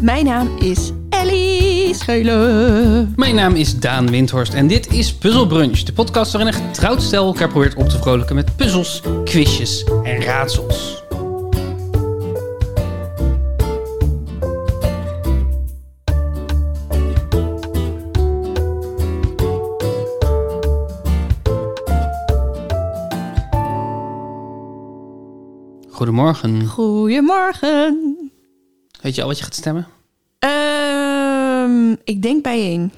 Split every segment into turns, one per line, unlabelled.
Mijn naam is Ellie Scheulen.
Mijn naam is Daan Windhorst en dit is Puzzle Brunch, de podcast waarin een getrouwd stel elkaar probeert op te vrolijken met puzzels, quizjes en raadsels. Goedemorgen.
Goedemorgen.
Weet je al wat je gaat stemmen?
Ehm, ik denk bijeen.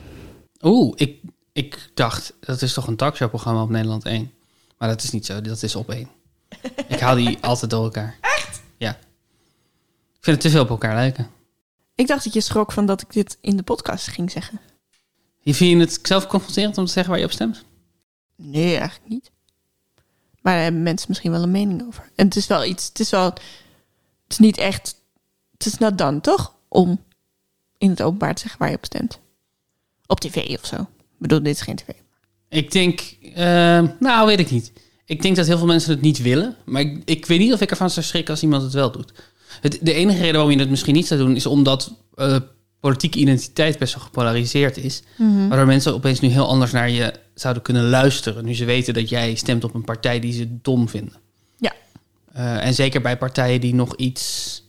Oeh, ik, ik dacht, dat is toch een talkshowprogramma op Nederland 1? Maar dat is niet zo, dat is op 1. ik haal die altijd door elkaar. Echt? Ja. Ik vind het te veel op elkaar lijken.
Ik dacht dat je schrok van dat ik dit in de podcast ging zeggen.
Je Vind je het zelf confronterend om te zeggen waar je op stemt?
Nee, eigenlijk niet. Maar daar hebben mensen misschien wel een mening over. En het is wel iets, het is wel, het is niet echt, het is not dan toch? Om in het openbaar te zeggen waar je op stemt. Op tv of zo. Ik bedoel, dit is geen tv.
Ik denk, eh, nou weet ik niet. Ik denk dat heel veel mensen het niet willen. Maar ik, ik weet niet of ik ervan zou schrikken als iemand het wel doet. Het, de enige reden waarom je het misschien niet zou doen... is omdat eh, politieke identiteit best wel gepolariseerd is. Waardoor mensen opeens nu heel anders naar je zouden kunnen luisteren. Nu ze weten dat jij stemt op een partij die ze dom vinden.
Ja.
Eh, en zeker bij partijen die nog iets...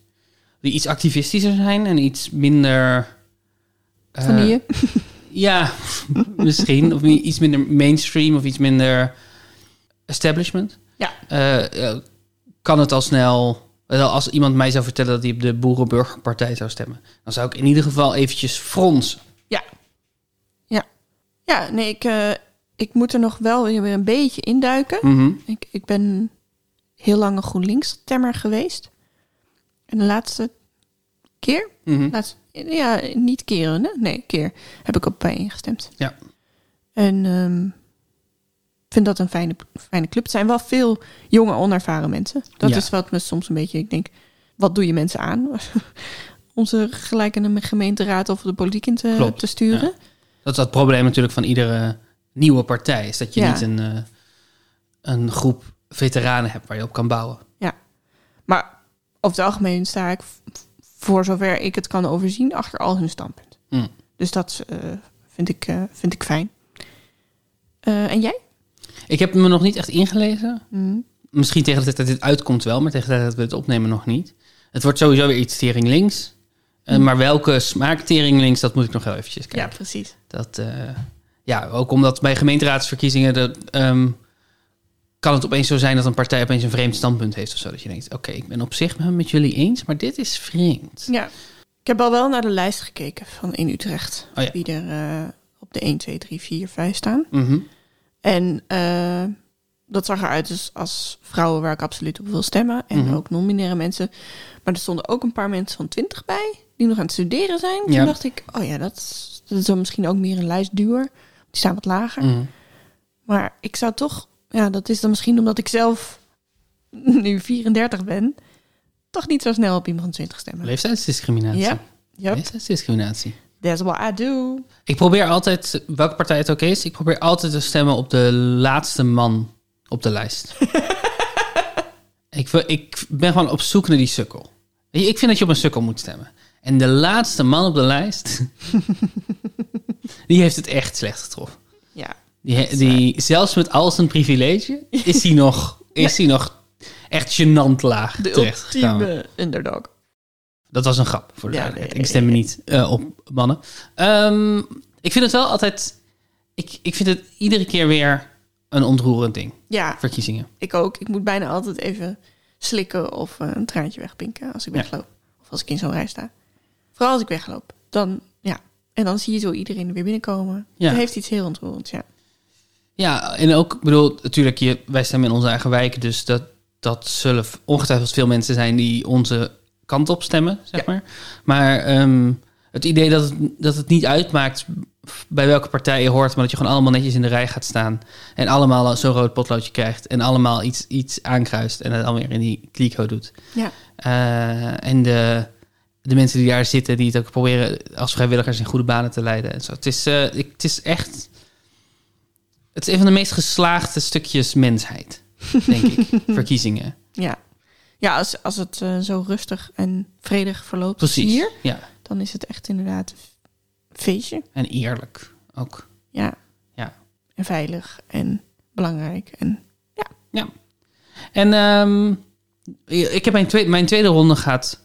die iets activistischer zijn en iets minder... eh,
Van je?
ja, misschien. Of mi- iets minder mainstream of iets minder establishment.
Ja.
Eh, eh, kan het al snel... wel, Als iemand mij zou vertellen dat hij op de Boerenburgerpartij zou stemmen... dan zou ik in ieder geval eventjes fronsen.
Ja. Ja. Ja, nee, ik, eh, ik moet er nog wel weer een beetje induiken.
Mhm.
Ik, ik ben heel lang een GroenLinks-temmer geweest. En de laatste keer,
Mhm.
laatste, ja, niet keren, hè? nee, keer, heb ik op bijeen gestemd.
Ja.
En ehm, ik vind dat een fijne, fijne club. Het zijn wel veel jonge, onervaren mensen. Dat
Ja.
is wat me soms een beetje, ik denk, wat doe je mensen aan? Om ze gelijk in de gemeenteraad of de politiek in te,
Klopt,
te sturen.
Dat is dat probleem natuurlijk van iedere nieuwe partij. Is dat je
Ja.
niet een, eh, een groep veteranen hebt waar je op kan bouwen.
Maar over het algemeen sta ik, v- voor zover ik het kan overzien, achter al hun standpunt.
Mm.
Dus dat eh, vind, ik, eh, vind ik fijn. Eh, en jij?
Ik heb me nog niet echt ingelezen.
Mhm.
Misschien tegen de tijd dat dit uitkomt wel, maar tegen de tijd dat we het opnemen nog niet. Het wordt sowieso weer iets tering links. Eh, Maar welke smaak tering links, dat moet ik nog heel eventjes kijken.
Mhm. Ja, precies.
Dat, eh, ja, ook omdat bij gemeenteraadsverkiezingen de, ehm, kan het opeens zo zijn dat een partij opeens een vreemd standpunt heeft of zo. Dat je denkt, oké, ik ben op zich met jullie eens, maar dit is vreemd.
Ja. Ik heb al wel naar de lijst gekeken van in Utrecht.
Oh ja.
Wie er eh, op de 1, 2, 3, 4, 5 staan.
Mhm.
En eh, dat zag eruit dus als vrouwen waar ik absoluut op wil stemmen. En
Mhm.
ook non-binaire mensen. Maar er stonden ook een paar mensen van 20 bij. Die nog aan het studeren zijn. Toen
Ja.
dacht ik, oh ja, dat is, dat is dan misschien ook meer een lijstduwer. Die staan wat lager.
Mhm.
Maar ik zou toch... Ja, dat is dan misschien omdat ik zelf nu 34 ben. Toch niet zo snel op iemand van 20 stemmen.
Leeftijdsdiscriminatie.
Ja, yep.
Leeftijdsdiscriminatie.
that's what I do.
Ik probeer altijd, welke partij het ook is, ik probeer altijd te stemmen op de laatste man op de lijst. ik, wil- ik ben gewoon op zoek naar die sukkel. Weet je, Ik vind dat je op een sukkel moet stemmen. En de laatste man op de lijst, die heeft het echt slecht getroffen.
Ja,
Die, die, zelfs met al zijn privilege is hij nog, is hij nog echt gênant laag
de
terechtgekomen.
ultieme underdog.
Dat was een grap, voor de
Ja,
duidelijkheid.
nee,
ik stem me niet eh, op mannen. Ehm, ik vind het wel altijd... Ik, ik vind het iedere keer weer een ontroerend ding,
Ja,
verkiezingen.
Ik ook. Ik moet bijna altijd even slikken of eh, een traantje wegpinken als ik
Ja.
wegloop. Of als ik in zo'n rij sta. Vooral als ik wegloop. Dan, ja. En dan zie je zo iedereen weer binnenkomen.
Ja.
Dat heeft iets heel ontroerends, ja.
Ja, en ook, ik bedoel, natuurlijk, je, wij stemmen in onze eigen wijk. Dus dat, dat zullen v- ongetwijfeld veel mensen zijn die onze kant op stemmen, zeg maar. Maar ehm, het idee dat het, dat het niet uitmaakt bij welke partij je hoort... maar dat je gewoon allemaal netjes in de rij gaat staan... en allemaal zo'n rood potloodje krijgt... en allemaal iets, iets aankruist en het dan weer in die kliko doet.
Ja,
Eh, en de, de mensen die daar zitten, die het ook proberen als vrijwilligers in goede banen te leiden. En zo. Het, is, eh, ik- het is echt. Het is een van de meest geslaagde stukjes mensheid, denk ik. Verkiezingen.
ja. ja als, als het eh, zo rustig en vredig verloopt als
Precies.
hier...
Ja.
dan is het echt inderdaad een feestje.
En eerlijk ook.
Ja.
Ja.
En veilig en belangrijk. En
En ehm, ik heb mijn tweede, mijn tweede ronde gaat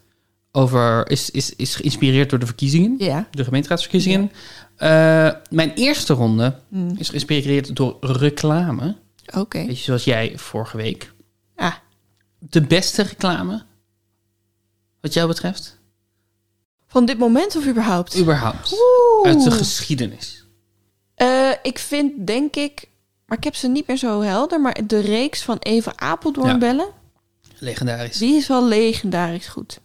over, is, is, is geïnspireerd door de verkiezingen,
ja.
de gemeenteraadsverkiezingen. Eh, mijn eerste ronde
Hm.
is geïnspireerd door reclame.
Oké.
Weet je, zoals jij vorige week.
Ah.
De beste reclame, wat jou betreft,
Van dit moment of überhaupt?
überhaupt.
Oeh.
Uit de geschiedenis.
Eh, ik vind, denk ik... Maar ik heb ze niet meer zo helder. Maar de reeks van Eva Apeldoorn
Ja.
bellen...
Legendarisch.
Die is wel legendarisch goed.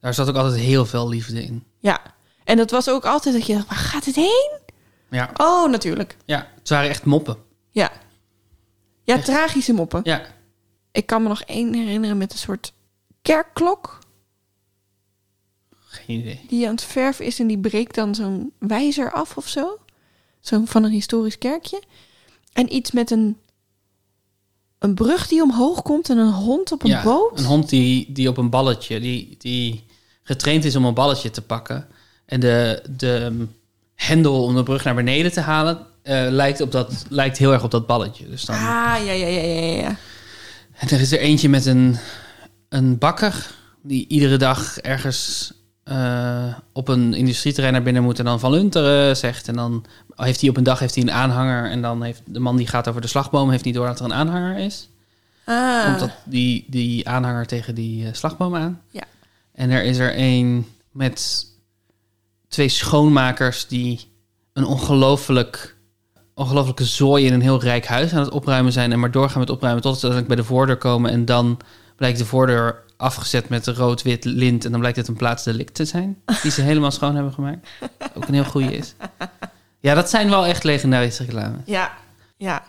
Daar zat ook altijd heel veel liefde in.
Ja. En dat was ook altijd dat je dacht... Waar gaat het heen?
Ja,
Oh, natuurlijk.
ja. het waren echt moppen.
Ja. Ja,
Echt?
tragische moppen.
Ja,
Ik kan me nog één herinneren met een soort kerkklok...
geen idee.
die aan het verf is en die breekt dan zo'n wijzer af of zo. Zo'n van een historisch kerkje. En iets met een, een brug die omhoog komt en een hond op een
ja,
boot.
Een hond die, die op een balletje, die, die getraind is om een balletje te pakken. En de, de ehm, hendel om de brug naar beneden te halen, eh, lijkt, op dat, lijkt heel erg op dat balletje. Dus dan,
Ah, ja, ja, ja, ja, ja.
En er is er eentje met een, een bakker die iedere dag ergens eh, op een industrieterrein naar binnen moet en dan van Lunteren zegt. En dan heeft hij op een dag heeft hij een aanhanger en dan heeft de man die gaat over de slagboom heeft niet door dat er een aanhanger is. Komt
Ah,
dat die, die aanhanger tegen die eh, slagboom aan.
Ja.
En er is er een met twee schoonmakers die een ongelooflijk ongelooflijke zooi in een heel rijk huis aan het opruimen zijn en maar doorgaan met opruimen tot ze uiteindelijk bij de voordeur komen en dan blijkt de voordeur afgezet met rood-wit lint en dan blijkt het een plaatsdelict te zijn die ze helemaal schoon hebben gemaakt. Ook een heel goede is. Ja, dat zijn wel echt legendarische reclames.
ja, ja.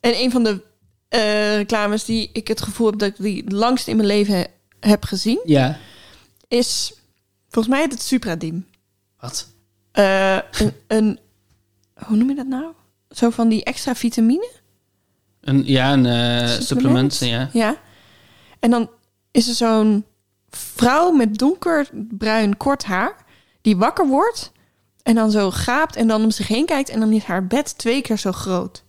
En een van de eh, reclames die ik het gevoel heb dat ik die het langst in mijn leven he- heb gezien...
Ja.
is volgens mij het Supradim.
Wat?
Eh, een, een, hoe noem je dat nou? Zo van die extra vitamine?
Een, ja, een eh,
Supplement?
supplement. Ja.
Ja. En dan is er zo'n vrouw met donkerbruin kort haar die wakker wordt en dan zo gaapt en dan om zich heen kijkt en dan is haar bed twee keer zo groot.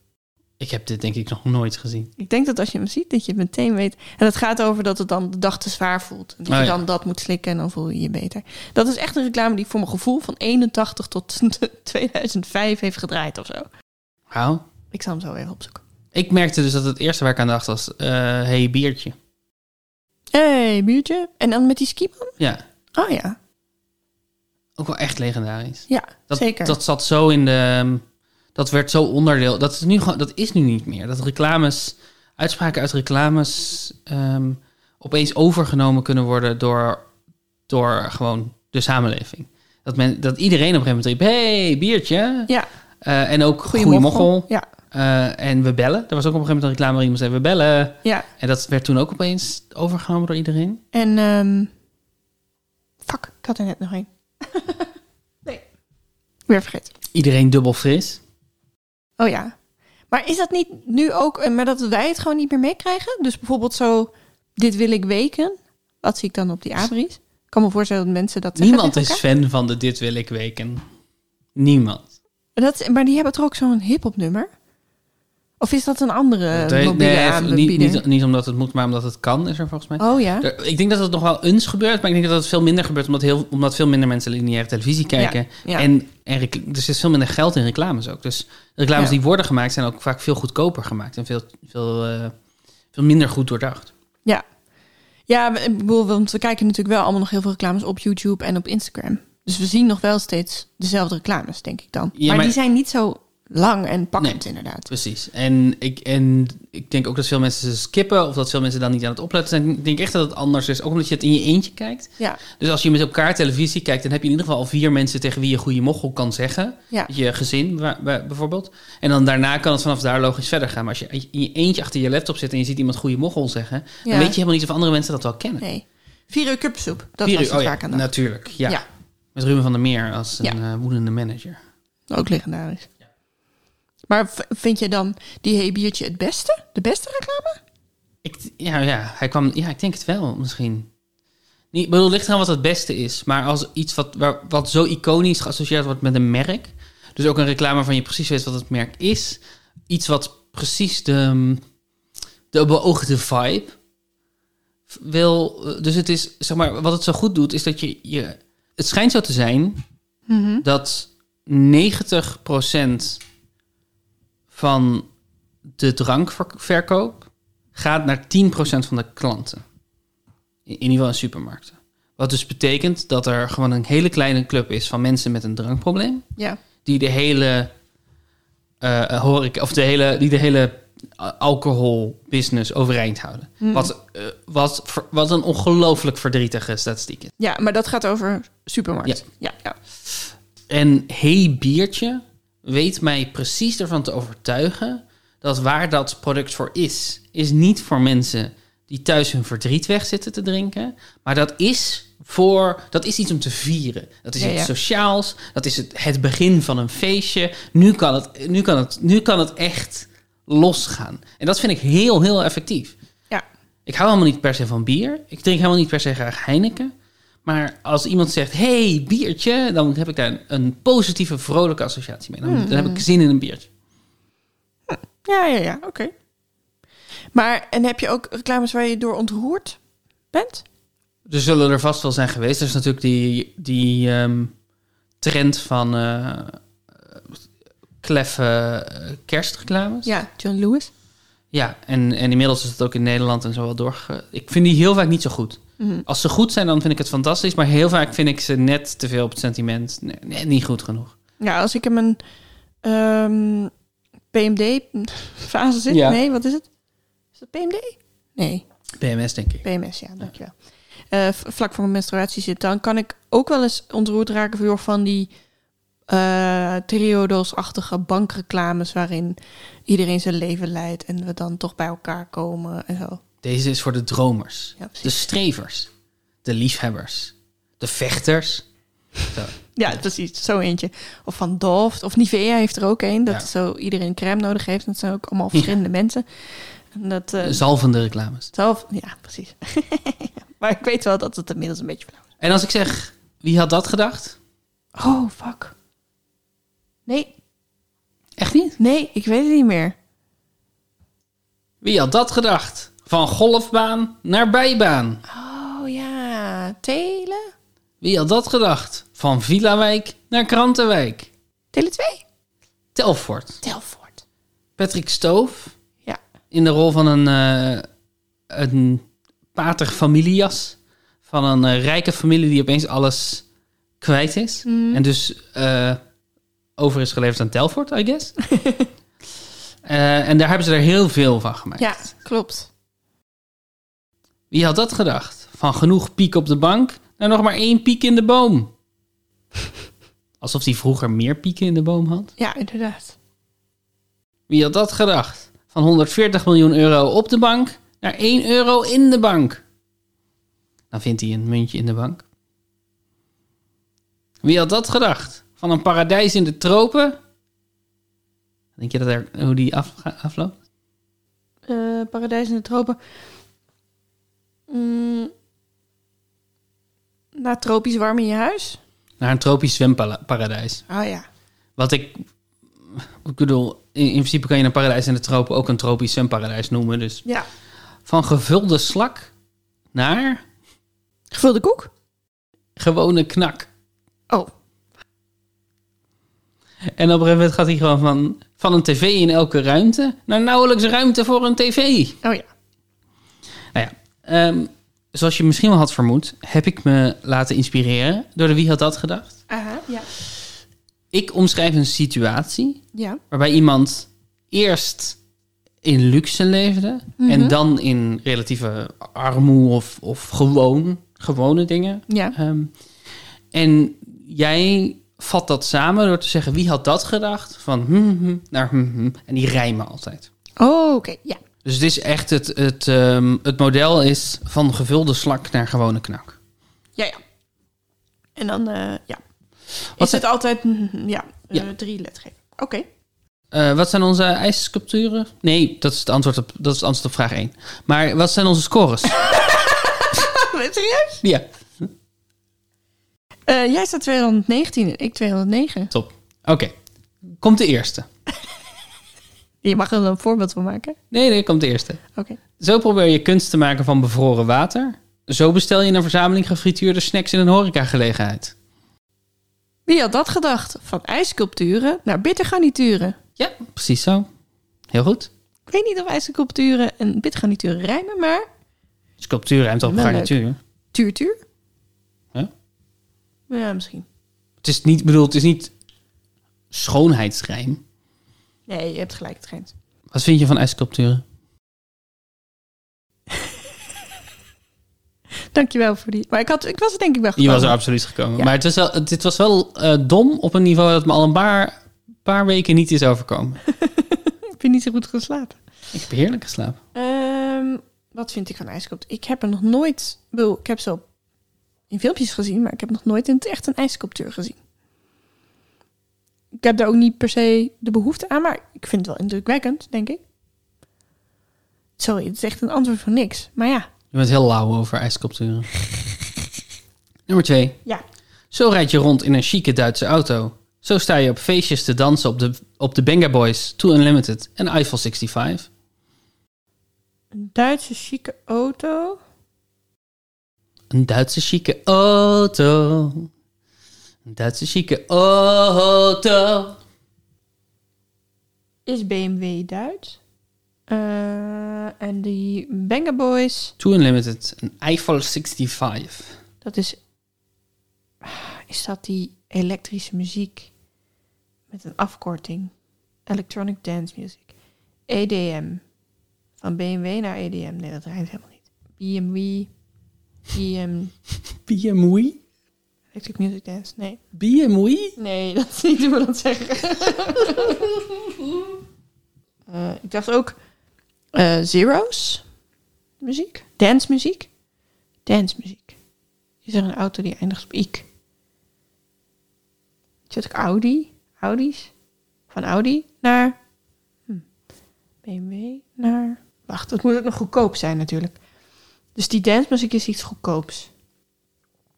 Ik heb dit denk ik nog nooit gezien.
Ik denk dat als je hem ziet, dat je het meteen weet. En het gaat over dat het dan de dag te zwaar voelt. En dat
Oh,
je
ja.
dan dat moet slikken en dan voel je je beter. Dat is echt een reclame die voor mijn gevoel van 81 tot 2005 heeft gedraaid of zo.
Wauw.
Ik zal hem zo even opzoeken.
Ik merkte dus dat het eerste waar ik aan dacht was... eh hey, biertje.
hey, buurtje. En dan met die skiman?
Ja,
Oh ja,
ook wel echt legendarisch.
ja
Dat,
zeker.
Dat zat zo in de... ehm, Dat werd zo onderdeel... Dat is nu, gewoon- dat is nu niet meer. Dat reclames... Uitspraken uit reclames... ehm, opeens overgenomen kunnen worden door... Door gewoon de samenleving. Dat, men, dat iedereen op een gegeven moment riep... hey, biertje.
Ja.
Eh, en ook goede mochel.
Goeie mochel. Ja,
Eh, en we bellen. Er was ook op een gegeven moment een reclame waarin iemand zei... We bellen...
ja.
En dat werd toen ook opeens overgenomen door iedereen.
En ehm fuck, ik had er net nog één. nee. Weer vergeten.
Iedereen dubbel fris.
Oh ja. Maar is dat niet nu ook, eh, maar dat wij het gewoon niet meer meekrijgen? Dus bijvoorbeeld zo, dit wil ik weken. Wat zie ik dan op die abris? Ik kan me voorstellen dat mensen dat zeggen
Niemand
tegen
is fan van de Dit Wil Ik Weken. Niemand.
elkaar. Dat, maar die hebben toch ook zo'n hip-hop nummer? Of is dat een andere
Nee,
Eh, mobiele
nee, niet,
aanbieder?
niet, niet omdat het moet, maar omdat het kan, is er volgens mij.
Oh ja.
Er- Ik denk dat het nog wel eens gebeurt, maar ik denk dat het veel minder gebeurt... omdat, heel, omdat veel minder mensen lineaire televisie kijken.
ja.
En, en recl- dus er is veel minder geld in reclames ook. Dus de reclames
Ja.
die worden gemaakt zijn ook vaak veel goedkoper gemaakt... en veel, veel, eh, veel minder goed doordacht.
Ja. Ja, we- ik bedoel, want we kijken natuurlijk wel allemaal nog heel veel reclames op YouTube en op Instagram. Dus we zien nog wel steeds dezelfde reclames, denk ik dan.
Ja,
maar,
maar-
die zijn niet zo lang en pakkend, inderdaad.
Precies. En ik, en ik denk ook dat veel mensen ze skippen of dat veel mensen dan niet aan het opletten zijn. Ik denk echt dat het anders is, ook omdat je het in je eentje kijkt.
Ja,
Dus als je met elkaar televisie kijkt, dan heb je in ieder geval al vier mensen tegen wie je goede mochel kan zeggen.
ja,
Je gezin wa- wa- bijvoorbeeld. En dan daarna kan het vanaf daar logisch verder gaan. Maar als je in je eentje achter je laptop zit en je ziet iemand goede mochel zeggen, dan
Ja.
weet je helemaal niet of andere mensen dat wel kennen.
nee. Vier uur cupsoep, dat
Vier
was
uur-
het
oh ja,
vaak aan de
Natuurlijk, ja.
Ja.
Met Ruben van der Meer als een
Ja.
eh, woedende manager.
Ook legendarisch. Maar v- vind je dan die hey biertje het beste? De beste reclame?
Ik, ja, ja, hij kwam, ja, ik denk het wel misschien. Niet, ik bedoel, het ligt aan wat het beste is. Maar als iets wat, waar, wat zo iconisch geassocieerd wordt met een merk. Dus ook een reclame waarvan je precies weet wat het merk is. Iets wat precies de, de beoogde vibe wil. Dus het is, zeg maar, wat het zo goed doet, is dat je. je het schijnt zo te zijn
Mhm.
dat 90% van de drankverkoop gaat naar 10% van de klanten. In, in ieder geval in supermarkten. Wat dus betekent dat er gewoon een hele kleine club is van mensen met een drankprobleem.
Ja.
Die de hele eh horeca, of de hele, die de hele eh, alcoholbusiness overeind houden. Wat, eh, wat, ver- wat een ongelooflijk verdrietige statistiek is.
ja, maar dat gaat over supermarkt. Ja. Ja,
En hey biertje weet mij precies ervan te overtuigen dat waar dat product voor is, is niet voor mensen die thuis hun verdriet weg zitten te drinken, maar dat is voor dat is iets om te vieren. Dat is
Ja,
iets
ja.
sociaals. Dat is het, het begin van een feestje. Nu kan het, nu kan het, nu kan het echt losgaan. En dat vind ik heel, heel effectief.
Ja.
Ik hou helemaal niet per se van bier. Ik drink helemaal niet per se graag Heineken. Maar als iemand zegt, hey, biertje, dan heb ik daar een, een positieve, vrolijke associatie mee. Dan, dan heb ik zin in een biertje.
Ja, ja, ja, oké. Maar, en heb je ook reclames waar je door ontroerd bent?
Er zullen er vast wel zijn geweest. Er is natuurlijk die, die ehm, trend van eh, eh, kleffe eh, kerstreclames.
Ja, John Lewis.
Ja, en, en inmiddels is het ook in Nederland en zo wel doorge... Ik vind die heel vaak niet zo goed. Als ze goed zijn, dan vind ik het fantastisch. Maar heel vaak vind ik ze net te veel op het sentiment. Nee, net niet goed genoeg.
Ja, als ik in mijn ehm, PMD-fase zit.
Ja.
Nee, wat is het? Is dat PMD? Nee,
PMS, denk ik.
PMS, ja, dankjewel. Eh, v- vlak voor mijn menstruatie zit, dan kan ik ook wel eens ontroerd raken door van die eh Triodos-achtige bankreclames waarin iedereen zijn leven leidt en we dan toch bij elkaar komen en zo.
Deze is voor de dromers.
Ja, precies.
de strevers. De liefhebbers. De vechters. Zo.
Ja, precies. Zo eentje. Of van Doft. Of Nivea heeft er ook een. Dat
Ja.
zo iedereen crème nodig heeft. Dat zijn ook allemaal verschillende mensen. En dat, eh,
Zalvende reclames.
zelf, ja, precies. maar ik weet wel dat het inmiddels een beetje flauw is.
En als ik zeg, wie had dat gedacht?
Oh, fuck. Nee,
Echt niet.
nee, ik weet het niet meer.
Wie had dat gedacht? Van golfbaan naar bijbaan.
Oh ja, Tele?
Wie had dat gedacht? Van Villawijk naar Krantenwijk.
Tele 2?
Telfort.
Telfort.
Patrick Stoof
Ja.
in de rol van een, eh een pater familias. Van een eh, rijke familie die opeens alles kwijt is. En dus eh, over is geleverd aan Telfort, I guess. Eh, en daar hebben ze er heel veel van gemaakt.
Ja, klopt.
Wie had dat gedacht? Van genoeg piek op de bank naar nog maar één piek in de boom. Alsof hij vroeger meer pieken in de boom had.
Ja, inderdaad.
Wie had dat gedacht? Van 140 miljoen euro op de bank naar 1 euro in de bank. Dan vindt hij een muntje in de bank. Wie had dat gedacht? Van een paradijs in de tropen? Denk je dat er, hoe die afga- afloopt?
Eh, Paradijs in de tropen. Mm. Na tropisch warm in je huis?
Naar een tropisch zwemparadijs.
Ah ja.
Wat ik, ik bedoel, in, in principe kan je een paradijs in de tropen ook een tropisch zwemparadijs noemen. Dus
Ja.
van gevulde slak naar
Gevulde koek?
gewone knak.
Oh.
En op een gegeven moment gaat hij gewoon van, van een tv in elke ruimte naar nauwelijks ruimte voor een tv.
Oh ja.
Nou ja, ehm, zoals je misschien wel had vermoed, heb ik me laten inspireren door de Wie had dat gedacht?
Aha, ja.
Ik omschrijf een situatie
Ja.
waarbij iemand eerst in luxe leefde en dan in relatieve armoe of, of gewoon, gewone dingen.
Ja.
Ehm, en jij vat dat samen door te zeggen wie had dat gedacht van hmm, hmm, naar hmm, hmm. en die rijmen altijd.
Oh, oké. Ja.
Dus het is echt het, het, ehm, het model is van gevulde slak naar gewone knak.
Ja, ja. En dan, eh, ja.
Wat
Is het altijd, mm, ja, eh,
Ja.
drie lettergrepen. Oké.
Eh, wat zijn onze ijssculpturen? Nee, dat is het antwoord op, dat is het antwoord op vraag 1. Maar wat zijn onze scores?
Ben je Serieus?
ja.
Eh, jij staat 219 en ik 209.
Top. Oké. Komt de eerste.
Je mag er een voorbeeld van maken.
Nee, nee, komt de eerste.
Oké.
Zo probeer je kunst te maken van bevroren water. Zo bestel je een verzameling gefrituurde snacks in een horecagelegenheid.
Wie had dat gedacht? Van ijssculpturen naar bittergarnituren.
Ja, precies zo. Heel goed.
Ik weet niet of ijssculpturen en bittergarnituren rijmen, maar
Sculptuur ruimt op
Wel leuk.
garnituur.
tuurtuur?
Ja.
Ja, misschien.
Het is niet, bedoel, het is niet schoonheidsrijm.
Nee, je hebt gelijk, het schijnt.
Wat vind je van ijssculpturen?
Dankjewel voor die. Maar ik, had, ik was er denk ik wel
Je
gekomen.
was er absoluut gekomen.
Ja.
Maar het was wel, het- dit was wel eh, dom op een niveau dat me al een paar, paar weken niet is overkomen.
Ik heb niet zo goed geslapen.
Ik heb heerlijk geslapen.
Ehm, wat vind ik van ijsculptuur? Ik heb er nog nooit... ik bedoel, Ik heb ze op- in filmpjes gezien, maar ik heb nog nooit in het echt een ijsculptuur gezien. Ik heb daar ook niet per se de behoefte aan, maar ik vind het wel indrukwekkend, denk ik. Sorry, het is echt een antwoord voor niks. Maar ja,
Je bent heel lauw over ijssculpturen. Nummer twee.
ja.
Zo rijd je rond in een chique Duitse auto. Zo sta je op feestjes te dansen op de, op de Benga Boys, Too Unlimited en Eiffel 65.
Een Duitse chique auto.
Een Duitse chique auto. Een Duitse chique auto.
Is BMW Duits. Eh, en die Banger Boys,
Too Unlimited en Eiffel 65.
dat is... ah, Is dat die elektrische muziek met een afkorting? Electronic Dance Music. EDM. Van BMW naar EDM. Nee, dat rijdt helemaal niet. BMW. BM.
BMW?
E Electric Music Dance. Nee.
BMW?
Nee, dat is niet hoe we dat zeggen. Eh, ik dacht ook eh, zeros muziek, dance muziek, dance muziek. Is er een auto die eindigt op ik? Zet ik Audi, Audi's, van Audi naar hm, BMW naar. Wacht, dat moet ook nog goedkoop zijn natuurlijk. Dus die dance muziek is iets goedkoops.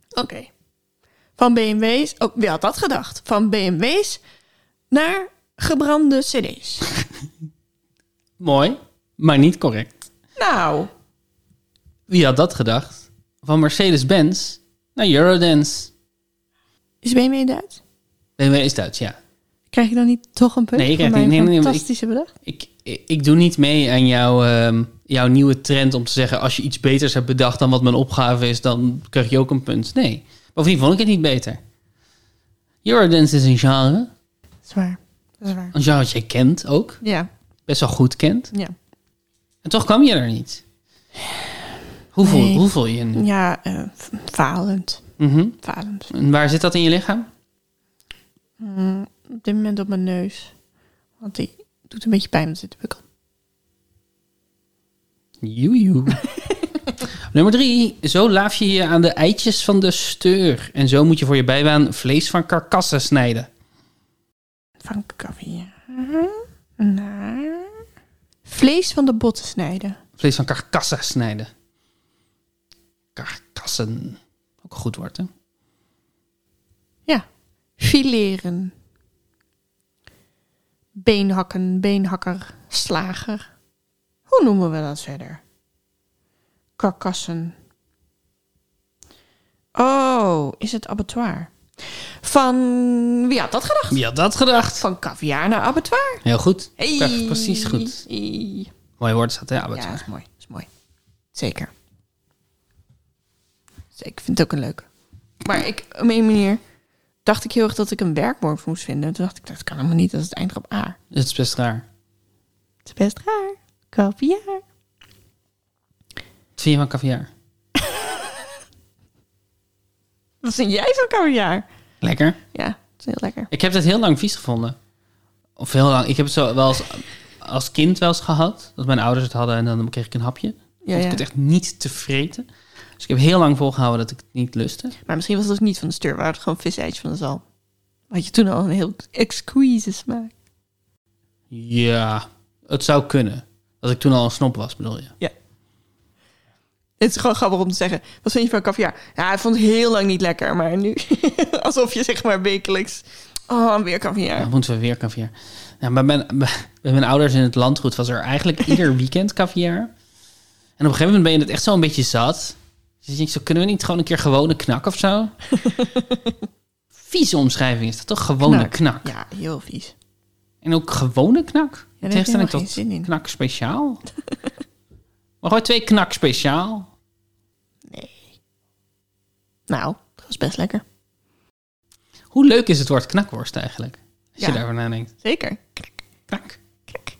Oké van BMW's. Oh, wie had dat gedacht? Van BMW's naar gebrande CD's.
Mooi, maar niet correct.
Nou,
Wie had dat gedacht? Van Mercedes-Benz naar Eurodance.
is BMW Duits?
BMW is Duits, ja.
Krijg je dan niet toch een punt
Nee, ik
voor
krijg
mijn
niet- nee, nee, nee,
fantastische bedacht?
Ik, ik ik doe niet mee aan jouw, ehm, jouw nieuwe trend om te zeggen... als je iets beters hebt bedacht dan wat mijn opgave is... dan krijg je ook een punt. Nee. Bovendien vond ik het niet beter. Eurodance is een genre.
Zwaar, dat is waar.
Een genre dat jij kent ook.
Ja,
Best wel goed kent.
ja.
En toch kwam je er niet. Hoe voel,
Nee.
hoe voel je je nu?
Ja, eh, f- falend.
Mhm.
Falend.
En waar zit dat in je lichaam?
Mm, op dit moment op mijn neus. Want die doet een beetje pijn om te bukken.
Joejoe. Nummer drie. Zo laaf je je aan de eitjes van de steur. En zo moet je voor je bijbaan vlees van karkassen snijden.
Van kaviaar Mhm. naar... Vlees van de botten snijden.
Vlees van karkassen snijden. Karkassen. Ook een goed woord, hè?
Ja. Fileren. Beenhakken, beenhakker, slager. Hoe noemen we dat verder? Karkassen. Oh, is het abattoir? Van wie had dat gedacht?
Wie had dat gedacht?
Van caviar naar abattoir?
Heel goed.
Hey.
Perfect, Precies goed.
Hey.
Mooi woord staat, hè? Albert?
Ja, is mooi, is mooi. Zeker. Dus Ik vind het ook een leuke. Maar ik, op een manier dacht ik heel erg dat ik een werkwoord moest vinden. Toen dacht ik, dat kan helemaal niet, dat is het eindigt op A.
Het is best raar.
Het is best raar. Kaviaar.
Wat vind je van caviar?
Wat vind jij van kaviaar?
Lekker.
Ja, het is heel lekker.
Ik heb het heel lang vies gevonden. Of heel lang. Ik heb het zo wel als, als kind wel eens gehad. Dat mijn ouders het hadden en dan kreeg ik een hapje.
Ja,
vond
ja.
ik het echt niet te vreten. Dus ik heb heel lang volgehouden dat ik het niet lustte.
Maar misschien was het ook niet van de steur, maar het gewoon vis-eitje van de zalm. Had je toen al een heel exquise smaak.
Ja, het zou kunnen. Dat ik toen al een snop was, bedoel je.
Het is gewoon grappig om te zeggen. Wat vind je van caviar? Ja, ik vond het heel lang niet lekker, maar nu... alsof je zeg maar wekelijks... Oh, weer caviar.
Dan moeten we weer caviar. Ja, bij, mijn, bij mijn ouders in het landgoed was er eigenlijk ieder weekend caviar. En op een gegeven moment ben je het echt zo een beetje zat. Dus je denkt, zo kunnen we niet gewoon een keer gewone knak of zo? Vieze omschrijving is dat toch? Gewone knak.
Ja, heel vies.
En ook gewone knak.
daar heb ik
Tegenstelling
helemaal geen
tot
zin in.
Knak speciaal. maar gewoon twee knak speciaal.
Nou, dat was best lekker.
Hoe leuk is het woord knakworst eigenlijk? Als
Ja.
je daarover nadenkt.
Zeker. Knak,
Knak.
knak.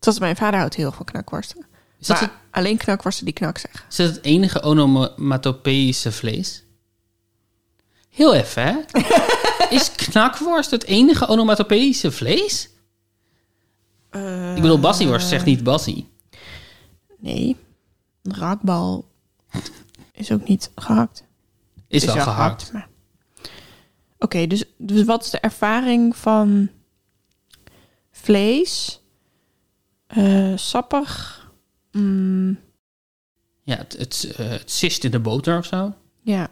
Zoals mijn vader houdt heel veel knakworsten.
Is dat,
maar
het,
alleen knakworsten die knak zeggen.
is dat het enige onomatopeïsche vlees? Heel even, hè? is knakworst het enige onomatopeïsche vlees? Ik bedoel, bassieworst zegt niet bassie.
Eh, Nee. Een raakbal is ook niet gehakt.
Is, wel
Dus ja,
gehakt.
maar- Oké, dus, dus wat is de ervaring van vlees, eh, sappig, mm,
Ja, het, het, eh, het sist in de boter of zo.
ja,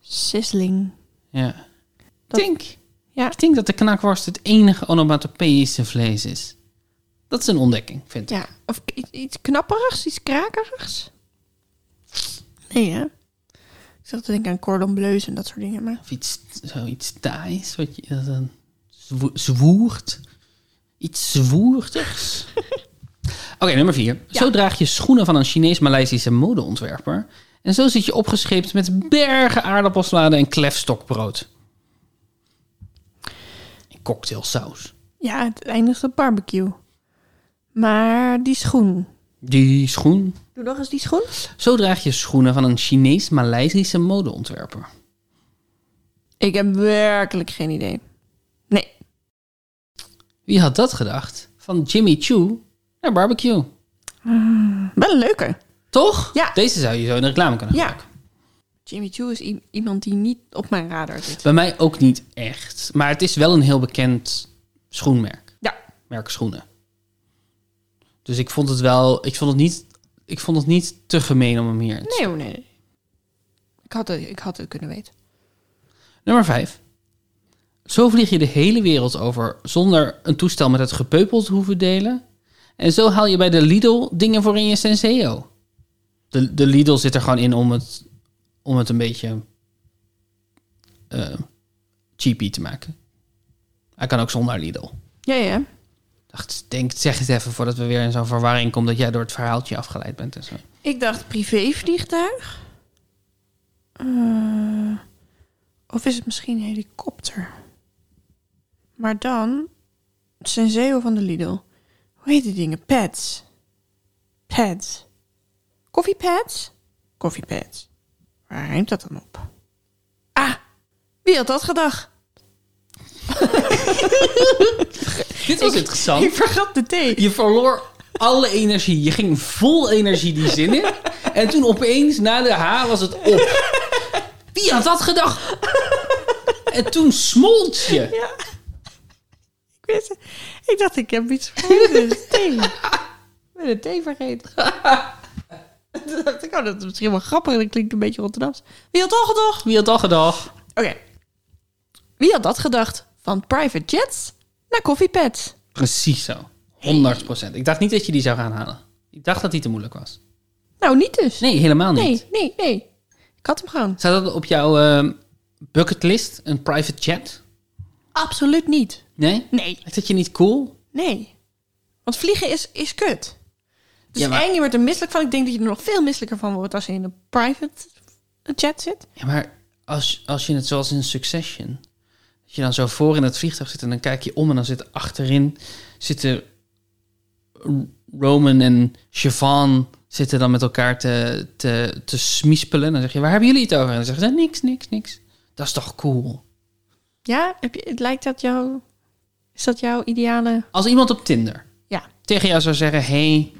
sizzling.
Ja.
Dat-
Ik denk,
Ja.
ik denk dat de knakworst het enige onomatopeïsche vlees is. Dat is een ontdekking, vind ik.
Ja, of k- iets- iets knapperigs, iets krakerigs. Nee, hè? Ik zat te denken aan cordon bleu en dat soort dingen, maar...
Of iets, zoiets Thais, wat je dat dan zwo- zwoert. Iets zwoertigs. Oké, nummer vier. Zo draag je schoenen van een Chinees-Maleisische modeontwerper. En zo zit je opgescheept met bergen aardappelsladen en klefstokbrood. En cocktailsaus.
Ja, het eindigt op barbecue. Maar die schoen.
Die schoen.
Doe nog eens die schoen.
Zo draag je schoenen van een Chinees-Maleisische modeontwerper.
Ik heb werkelijk geen idee. Nee,
Wie had dat gedacht? Van Jimmy Choo naar barbecue.
wel een leuke.
Toch?
Ja.
Deze zou je zo in de reclame kunnen
Ja.
gebruiken.
Jimmy Choo is i- iemand die niet op mijn radar zit.
Bij mij ook niet echt. Maar het is wel een heel bekend schoenmerk.
Ja,
Merk schoenen. Dus ik vond het wel... Ik vond het niet, ik vond het niet te gemeen om hem hier in te
nee, oh, nee. nee. Ik had, het, ik had het kunnen weten.
Nummer 5. Zo vlieg je de hele wereld over zonder een toestel met het gepeupel te hoeven delen. En zo haal je bij de Lidl dingen voor in je Senseo. De, de Lidl zit er gewoon in om het, om het een beetje eh cheapy te maken. Hij kan ook zonder Lidl.
Ja, ja.
Dacht, denk, zeg het even voordat we weer in zo'n verwarring komen dat jij door het verhaaltje afgeleid bent. En zo.
Ik dacht privévliegtuig. Eh, of is het misschien een helikopter? Maar dan Senseo van de Lidl. Hoe heet die dingen? Pads. Pads. Koffiepads? Koffiepads. Waar ruimt dat dan op? Ah, wie had dat gedacht?
Dit was interessant.
Ik vergat de thee.
Je verloor alle energie. Je ging vol energie die zin in. En toen opeens, na de H, was het op. Wie had dat gedacht? En toen smolt je.
Ja. Ik wist het. Ik dacht, ik heb iets vergeten. Dus thee. Ik ben de thee vergeten. Toen dacht ik, oh, dat is misschien wel grappig. Dat klinkt een beetje Rotterdams. Wie had dat gedacht?
Wie had dat gedacht?
Oké. Wie had dat gedacht? Van private jets naar koffiepad.
Precies zo. 100 Ik dacht niet dat je die zou gaan halen. Ik dacht dat die te moeilijk was.
Nou, niet dus.
Nee, helemaal niet.
nee, nee. nee. Ik had hem gewoon.
Staat dat op jouw ehm, bucketlist? Een private jet?
Absoluut niet.
Nee?
Nee.
Lijkt dat je niet cool?
Nee. Want vliegen is, is kut. Dus
Ja, maar-
en je wordt er misselijk van. Ik denk dat je er nog veel misselijker van wordt als je in een private jet zit.
Ja, maar als, als je het zoals in Succession... dat je dan zo voor in het vliegtuig zit en dan kijk je om... en dan zit achterin zitten Roman en Siobhan... zitten dan met elkaar te, te, te smispelen. En dan zeg je, waar hebben jullie het over? En dan zeggen ze, niks, niks, niks. Dat is toch cool?
Ja, heb je, het lijkt dat jouw... Is dat jouw ideale...
Als iemand op Tinder
Ja.
tegen jou zou zeggen... hey,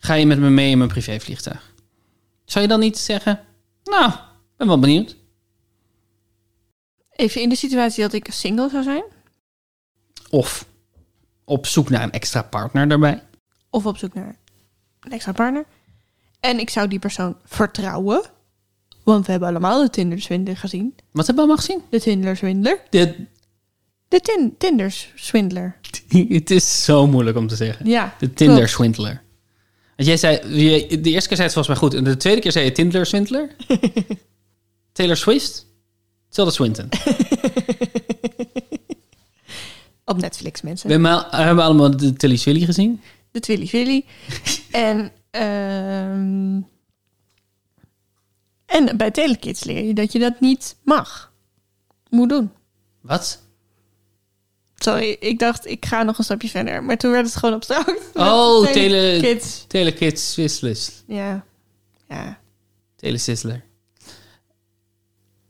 ga je met me mee in mijn privévliegtuig? Zou je dan niet zeggen... nou, ben wel benieuwd.
Even in de situatie dat ik single zou zijn.
Of op zoek naar een extra partner daarbij.
Of op zoek naar een extra partner. En ik zou die persoon vertrouwen. Want we hebben allemaal de Tinder-swindler gezien.
Wat hebben we allemaal gezien?
De Tinder-swindler.
Dit,
De tin Tinder-swindler.
het is zo moeilijk om te zeggen.
Ja.
De Tinder-swindler. Want jij zei, je- de eerste keer zei het volgens mij goed. En de tweede keer zei je Tinder-swindler. Taylor Swift. Tilda Swinton.
Op Netflix, mensen.
We hebben, al- hebben allemaal de Tilly Swilly gezien.
De Twilly Willy. en, ehm, en bij Telekids leer je dat je dat niet mag. Moet doen.
Wat?
Sorry, ik dacht ik ga nog een stapje verder. Maar toen werd het gewoon abstract.
Oh,
Met
tele-
Telekids.
Taylor Kids Swisless.
Ja. Ja.
Taylor Sizzler.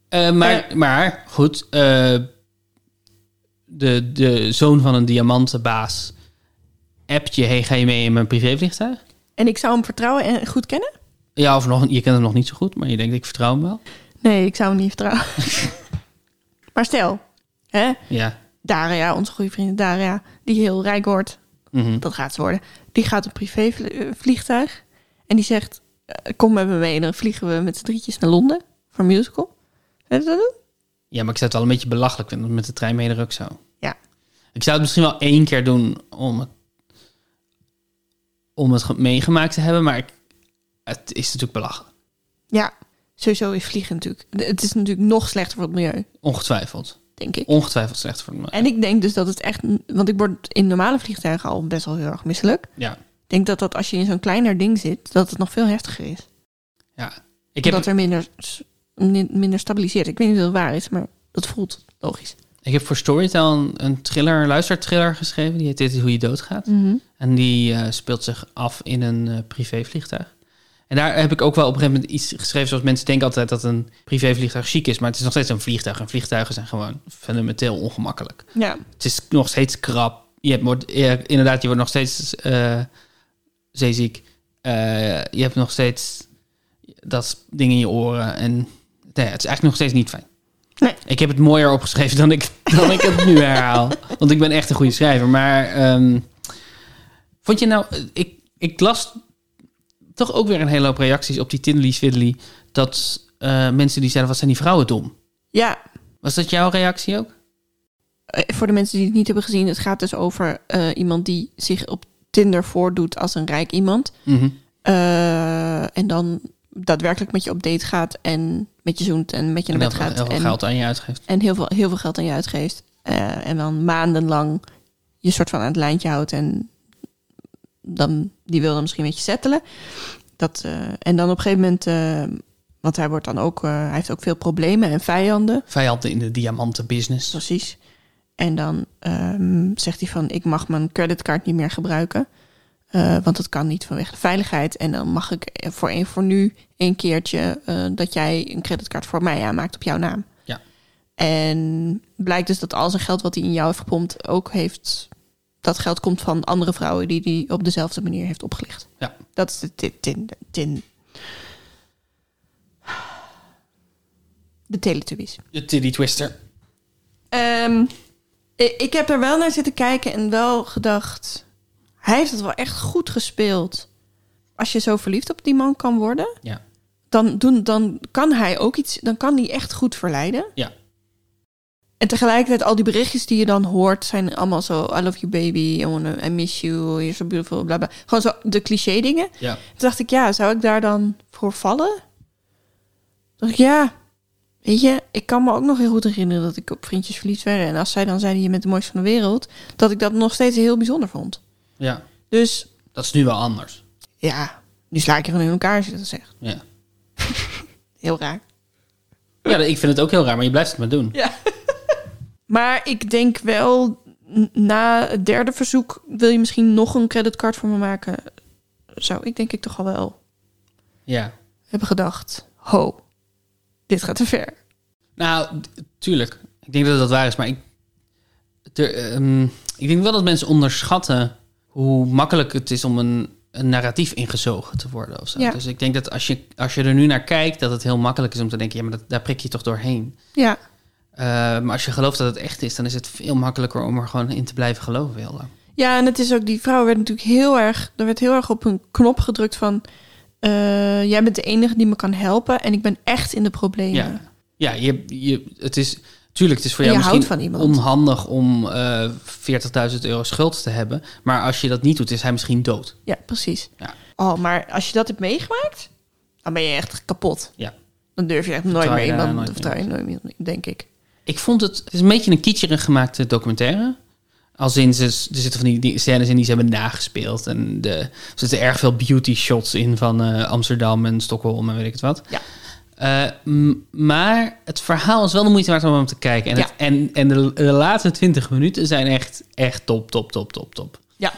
Eh, maar, maar, goed. eh, de, de zoon van een diamantenbaas appt je, hey, ga je mee in mijn privévliegtuig?
En ik zou hem vertrouwen en goed kennen?
Ja, of nog, je kent hem nog niet zo goed, maar je denkt, ik vertrouw hem wel.
Nee, ik zou hem niet vertrouwen. maar stel, hè,
Ja.
Daria, onze goede vriendin Daria, die heel rijk wordt,
Mhm.
dat gaat ze worden, die gaat op privé vl- eh, vliegtuig en die zegt, eh, kom met me mee en dan vliegen we met z'n drietjes naar Londen voor een musical. Zullen we dat doen?
Ja, maar ik zou het wel een beetje belachelijk vinden om met de trein mee de ruk zo.
Ja.
Ik zou het misschien wel één keer doen om het, om het ge- meegemaakt te hebben, maar ik- het is natuurlijk belachelijk.
Ja, sowieso is vliegen natuurlijk, het is natuurlijk nog slechter voor het milieu,
Ongetwijfeld.
denk ik.
Ongetwijfeld slecht voor me.
En ik denk dus dat het echt, want ik word in normale vliegtuigen al best wel heel erg misselijk.
Ja.
Ik denk dat, dat als je in zo'n kleiner ding zit, dat het nog veel heftiger is.
ja. Ik,
dat
heb,
er minder, s- min- minder stabiliseert. Ik weet niet of het waar is, maar dat voelt logisch.
ik heb voor Storytel een, een thriller, een luisterthriller geschreven. Die heet Dit is hoe je doodgaat. En die eh, speelt zich af in een eh, privévliegtuig. En daar heb ik ook wel op een gegeven moment iets geschreven... zoals mensen denken altijd dat een privévliegtuig chic is... maar het is nog steeds een vliegtuig. En vliegtuigen zijn gewoon fundamenteel ongemakkelijk.
Ja.
Het is nog steeds krap. Je hebt, wordt, je- inderdaad, je wordt nog steeds eh, zeeziek. Eh, je hebt nog steeds dat ding in je oren. En nou ja, het is eigenlijk nog steeds niet fijn.
Nee.
Ik heb het mooier opgeschreven dan ik, dan ik het nu herhaal. Want ik ben echt een goede schrijver. Maar ehm, vond je nou... Ik, ik las toch ook weer een hele hoop reacties op die Tindley Swiddly. Dat eh, mensen die zeiden, wat zijn die vrouwen dom?
ja.
Was dat jouw reactie ook?
eh, Voor de mensen die het niet hebben gezien, het gaat dus over eh, iemand die zich op Tinder voordoet als een rijk iemand.
Mhm.
Eh, en dan daadwerkelijk met je op date gaat en met je zoent en met je
En
naar
dat
bed
heel
gaat.
veel
en
geld aan je uitgeeft.
en heel, veel, heel veel geld aan je uitgeeft. Eh, en dan maandenlang je soort van aan het lijntje houdt. En dan, die wil dan misschien met je settelen. Dat, eh, en dan op een gegeven moment... eh, want hij, wordt dan ook, eh, hij heeft ook veel problemen en vijanden.
vijanden in de diamantenbusiness.
Precies. En dan ehm, zegt hij van... ik mag mijn creditcard niet meer gebruiken. eh, want dat kan niet vanwege de veiligheid. En dan mag ik voor, een, voor nu een keertje... eh, dat jij een creditcard voor mij aanmaakt op jouw naam.
Ja.
En blijkt dus dat al zijn geld wat hij in jou heeft gepompt ook heeft. Dat geld komt van andere vrouwen die hij op dezelfde manier heeft opgelicht.
Ja.
Dat is de tin. tin, tin. De Teletubbies.
De Tiddy Twister.
Ehm, i- ik heb er wel naar zitten kijken en wel gedacht. Hij heeft het wel echt goed gespeeld. Als je zo verliefd op die man kan worden,
Ja.
dan, doen, dan kan hij ook iets. Dan kan hij echt goed verleiden.
Ja.
En tegelijkertijd, al die berichtjes die je dan hoort, zijn allemaal zo: I love you, baby, I, wanna, I miss you, you're so beautiful, bla bla. Gewoon zo de cliché-dingen.
ja.
Toen dacht ik, ja, zou ik daar dan voor vallen? Toen dacht ik, ja, weet je, ik kan me ook nog heel goed herinneren dat ik op vriendjes verliefd werd. En als zij dan zeiden, je bent de mooiste van de wereld, dat ik dat nog steeds heel bijzonder vond.
Ja.
Dus
Dat is nu wel anders.
ja, nu sla ik je gewoon in elkaar als je dat zegt.
Ja.
Heel raar.
ja, ik vind het ook heel raar, maar je blijft het maar doen.
Maar ik denk wel, n- na het derde verzoek, wil je misschien nog een creditcard voor me maken? Zou ik denk ik toch al wel
Ja.
hebben gedacht, ho, dit gaat te ver.
Nou, t- tuurlijk. Ik denk dat dat waar is, maar ik... ter- ehm, ik denk wel dat mensen onderschatten hoe makkelijk het is om een, een narratief ingezogen te worden. Of zo.
Ja.
Dus ik denk dat als je, als je er nu naar kijkt, dat het heel makkelijk is om te denken... ja, maar dat, daar prik je toch doorheen.
Ja,
Eh, maar als je gelooft dat het echt is, dan is het veel makkelijker om er gewoon in te blijven geloven. Heel lang.
Ja, en het is ook, die vrouw werd natuurlijk heel erg, er werd heel erg op hun knop gedrukt van, eh, jij bent de enige die me kan helpen en ik ben echt in de problemen.
Ja, ja je, je, het is. Tuurlijk, het is voor
En
jou
je houdt
misschien
van iemand.
onhandig om eh 40.000 euro schuld te hebben. Maar als je dat niet doet, is hij misschien dood.
Ja, precies.
Ja.
Oh, maar als je dat hebt meegemaakt, dan ben je echt kapot.
Ja.
Dan durf je echt nooit
Vertrouw
meer
je daar
iemand,
nooit meer
vertrouw je nooit meer, denk ik.
Ik vond het, het is een beetje een kitscherig gemaakte documentaire. Als in, ze, er zitten van die, die scènes in die ze hebben nagespeeld. En de, er zitten erg veel beauty shots in van eh, Amsterdam en Stockholm en weet ik het wat.
Ja.
Eh, m- maar het verhaal is wel de moeite waard om hem te kijken. En,
Ja.
het, en, en de, de laatste 20 minuten zijn echt, echt top, top, top, top, top.
Ja.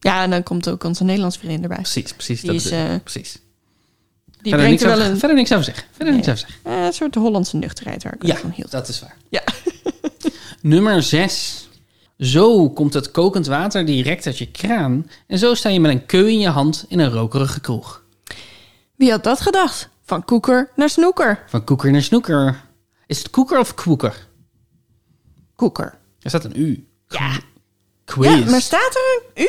Ja, en dan komt ook onze Nederlands vriendin erbij.
Precies, precies.
Die is,
is het.
eh,
precies.
Die
verder,
brengt
niks
er wel
over-
een
verder niks over zeggen. Verder niks
Nee.
over zeggen.
eh, soort Hollandse nuchterheid waar ik ook
Ja,
van hield.
dat is waar.
Ja.
Nummer 6. Zo komt het kokend water direct uit je kraan. En zo sta je met een keu in je hand in een rokerige kroeg.
Wie had dat gedacht? Van koeker naar snoeker.
Van koeker naar snoeker. Is het koeker of koeker?
Koeker.
Er staat een U.
Ja.
Quiz.
Ja, maar staat er een U?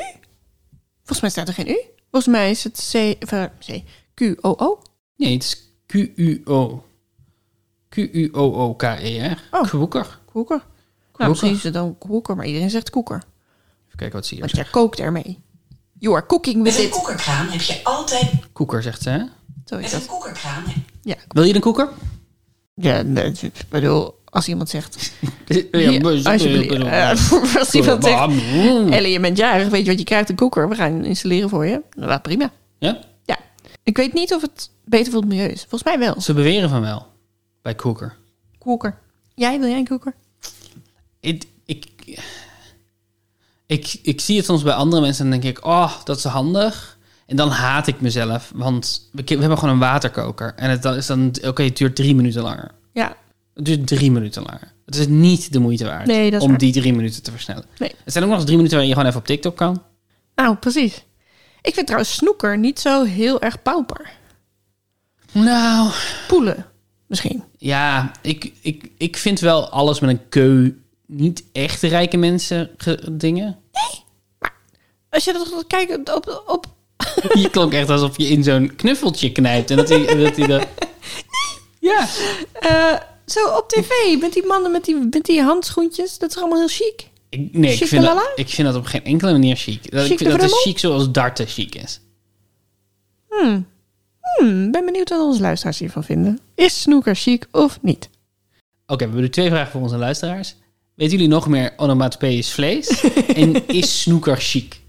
Volgens mij staat er geen U. Volgens mij is het C, of, eh, C Q-O-O.
Nee, het is Q-U-O. Q-U-O-O-K-E-R.
Oh.
Koeker.
Koeker. Nou,
Koeker.
misschien is het dan koeker, maar iedereen zegt koeker.
Even kijken wat ze hier
Want
zegt.
jij kookt ermee. You are cooking with
Met een
it.
koekerkraam heb je altijd...
Koeker, zegt ze. Hè?
Zo is
Met een
dat.
koekerkraam...
Ja,
Wil je een koeker?
ja nee, ik bedoel, als iemand zegt...
Ja,
Hier, alsjeblieft. eh, als iemand zegt... Ellie, je bent jarig, weet je wat je krijgt? Een koeker. We gaan hem installeren voor je. Nou, dat prima.
Ja?
Ja. Ik weet niet of het beter voor het milieu is. Volgens mij wel.
Ze beweren van wel. Bij koeker.
Koeker. Jij, wil jij een koeker?
ik, ik, ik, ik zie het soms bij andere mensen en dan denk ik, oh, dat is handig. En dan haat ik mezelf, want we, we hebben gewoon een waterkoker. En het dan is dan, oké, het duurt drie minuten langer.
Ja.
Het duurt drie minuten langer. Het is niet de moeite waard
Nee, dat is
om
waar.
die drie minuten te versnellen.
Nee.
Het zijn ook nog eens drie minuten waarin je gewoon even op TikTok kan.
Nou, precies. Ik vind trouwens snoeker niet zo heel erg pauper.
Nou,
Poelen. Misschien.
ja, ik, ik, ik vind wel alles met een keu niet echt rijke mensen ge- dingen.
Als je dat kijkt op... op
Je klonk echt alsof je in zo'n knuffeltje knijpt. En dat hij, dat, hij dat... Ja.
eh, zo op tv, met die mannen met die, met die handschoentjes. Dat is allemaal heel chic.
Ik, nee, ik
Chic
vind,
la
dat,
la?
ik vind dat op geen enkele manier chic. Dat,
Chic de
ik vind, dat
verdubbel?
is chic zoals darten chic is.
Hmm, ben benieuwd wat onze luisteraars hiervan vinden. Is snoeker chic of niet?
Oké, we hebben nu twee vragen voor onze luisteraars. Weten jullie nog meer onomatopoeïs vlees? en is snoeker chic?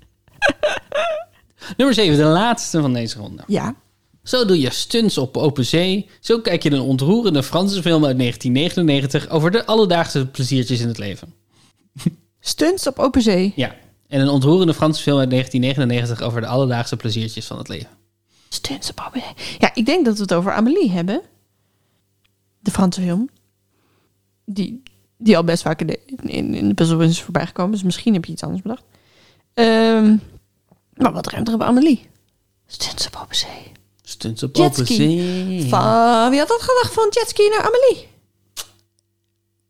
Nummer 7, de laatste van deze ronde.
Ja.
Zo doe je stunts op open zee. Zo kijk je een ontroerende Franse film uit 1999 over de alledaagse pleziertjes in het leven.
Stunts op open zee.
Ja, en een ontroerende Franse film uit 1999 over de alledaagse pleziertjes van het leven.
Stunts op open zee. Ja, ik denk dat we het over Amelie hebben. De Franse film. Die, die al best vaak in de, in, in de puzzle is voorbij gekomen. Dus misschien heb je iets anders bedacht. Ehm, maar wat ruimt er op Amelie? Stunts op open zee.
Stunts op
Jetski.
open zee.
Van, wie had dat gedacht van jetski naar Amelie?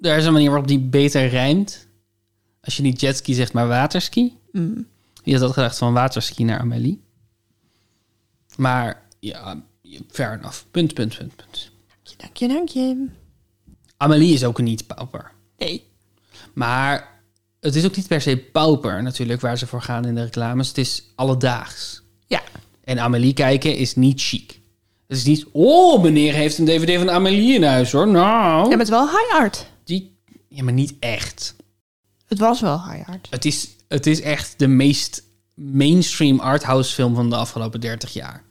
Er is een manier waarop die beter rijmt. Als je niet jetski zegt, maar waterski.
Mm.
Je had dat gedacht van waterski naar Amelie. Maar ja, fair enough. Punt, punt, punt, punt.
Dank je, dank je.
Amelie is ook niet pauper.
Nee.
Maar het is ook niet per se pauper natuurlijk waar ze voor gaan in de reclames. Het is alledaags.
Ja.
En Amelie kijken is niet chic. Het is niet, oh meneer heeft een dvd van Amelie in huis hoor. Nou,
Ja, maar het is wel high art.
die, ja, maar niet echt.
Het was wel high art.
Het is, het is echt de meest mainstream arthouse film van de afgelopen 30 jaar.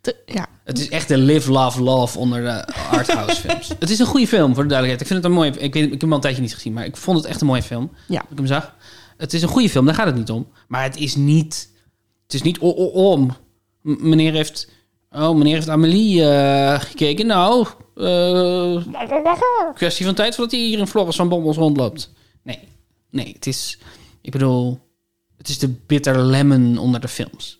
Te- ja.
Het is echt de live, love, love onder de arthouse films. het is een goede film, voor de duidelijkheid. Ik vind het een mooie... Ik, weet, ik heb hem al een tijdje niet gezien, maar ik vond het echt een mooie film.
Ja.
Toen Ik hem zag. Het is een goede film, daar gaat het niet om. Maar het is niet... Het is niet o- o- om. M- meneer heeft... Oh, meneer heeft Amelie eh, gekeken. Nou, eh, kwestie van tijd voordat hij hier in Floris van Bommels rondloopt. Nee, nee, het is... Ik bedoel, het is de bitter lemon onder de films.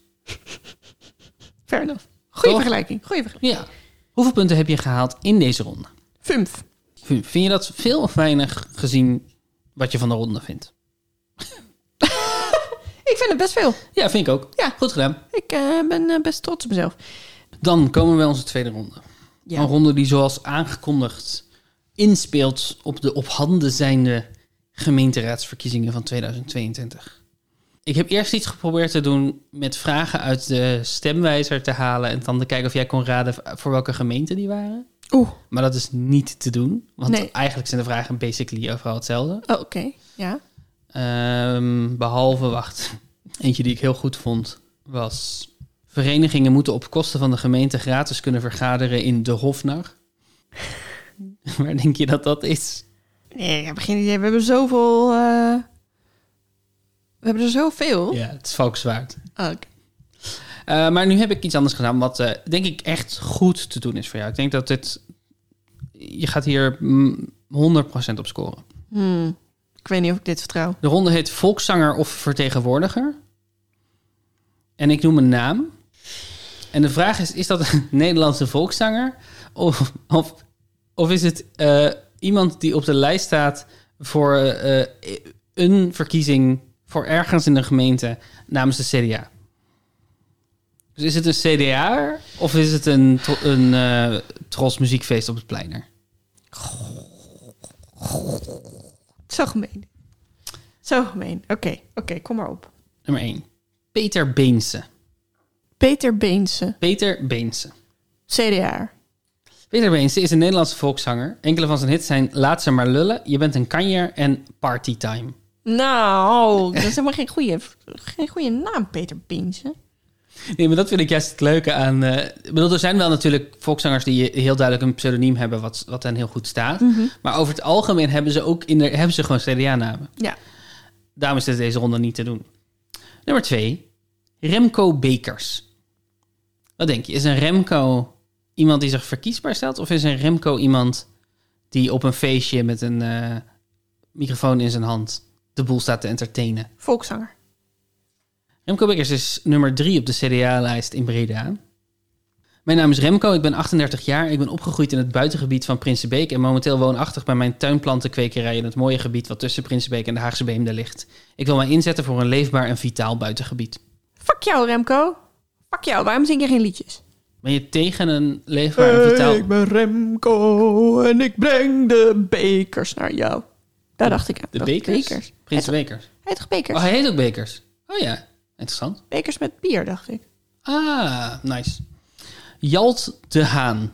Fair enough. Goeie
Toch?
vergelijking. Goeie vergelijking.
Ja. Hoeveel punten heb je gehaald in deze ronde?
Fumf.
Vind vind je dat veel of weinig gezien wat je van de ronde vindt?
Ik Ik vind het best veel.
Ja, vind ik ook.
Ja.
Goed gedaan.
Ik eh, ben eh, best trots op mezelf.
Dan komen we bij onze tweede ronde.
Ja.
Een ronde die zoals aangekondigd inspeelt op de op handen zijnde gemeenteraadsverkiezingen van 2022. Ik heb eerst iets geprobeerd te doen met vragen uit de stemwijzer te halen en dan te kijken of jij kon raden voor welke gemeente die waren.
Oeh.
Maar dat is niet te doen, want
Nee.
eigenlijk zijn de vragen basically overal hetzelfde.
Oh, Oké, ja.
Ehm, behalve, wacht, eentje die ik heel goed vond was... Verenigingen moeten op kosten van de gemeente gratis kunnen vergaderen in de Hofnar. Waar denk je dat dat is?
Nee, ik heb geen idee. We hebben zoveel... eh, We hebben er zoveel.
Ja, het is Valkenswaard.
Oh, oké.
Eh, maar nu heb ik iets anders gedaan, wat eh, denk ik echt goed te doen is voor jou. Ik denk dat dit... Je gaat hier mm, 100% op scoren.
Hmm. Ik weet niet of ik dit vertrouw.
De ronde heet volkszanger of vertegenwoordiger. En ik noem een naam. En de vraag is, is dat een Nederlandse volkszanger? Of, of, of is het eh, iemand die op de lijst staat voor eh, een verkiezing voor ergens in de gemeente namens de CDA? Dus is het een CDA of is het een, tro- een eh Tros muziekfeest op het pleiner?
Zo gemeen. Zo gemeen. Oké, oké, kom maar op.
Nummer 1. Peter Beense.
Peter Beense,
Peter Beense.
CDA.
Peter Beense is een Nederlandse volkszanger. Enkele van zijn hits zijn Laat ze maar lullen, Je bent een kanjer en Party Time.
Nou, dat is helemaal geen goede, geen goede naam, Peter Beense.
Nee, maar dat vind ik juist het leuke aan... eh, ik bedoel, er zijn wel natuurlijk volkszangers die heel duidelijk een pseudoniem hebben... wat, wat hen heel goed staat. Maar over het algemeen hebben ze ook in de, hebben ze gewoon CDA-namen.
Ja.
Daarom is dit deze ronde niet te doen. Nummer twee. Remco Bekers. Wat denk je? Is een Remco iemand die zich verkiesbaar stelt? Of is een Remco iemand die op een feestje met een eh, microfoon in zijn hand de boel staat te entertainen?
Volkszanger.
Remco Bekers is nummer drie op de CDA-lijst in Breda. Mijn naam is Remco, ik ben 38 jaar. Ik ben opgegroeid in het buitengebied van Prinsenbeek... en momenteel woonachtig bij mijn tuinplantenkwekerij... in het mooie gebied wat tussen Prinsenbeek en de Haagse Beemden ligt. Ik wil mij inzetten voor een leefbaar en vitaal buitengebied.
Fuck jou, Remco. Fuck jou, waarom zing je geen liedjes?
Ben je tegen een leefbaar en vitaal...
Eh, ben Remco en ik breng de bekers naar jou. Daar dacht ik aan.
De
Dacht ik,
Bekers?
bekers.
Prins Bekers.
Hij toch bekers?
Oh, hij heet ook Bekers. Oh ja, interessant.
Bekers met bier, dacht ik.
Ah, nice. Jalt de Haan.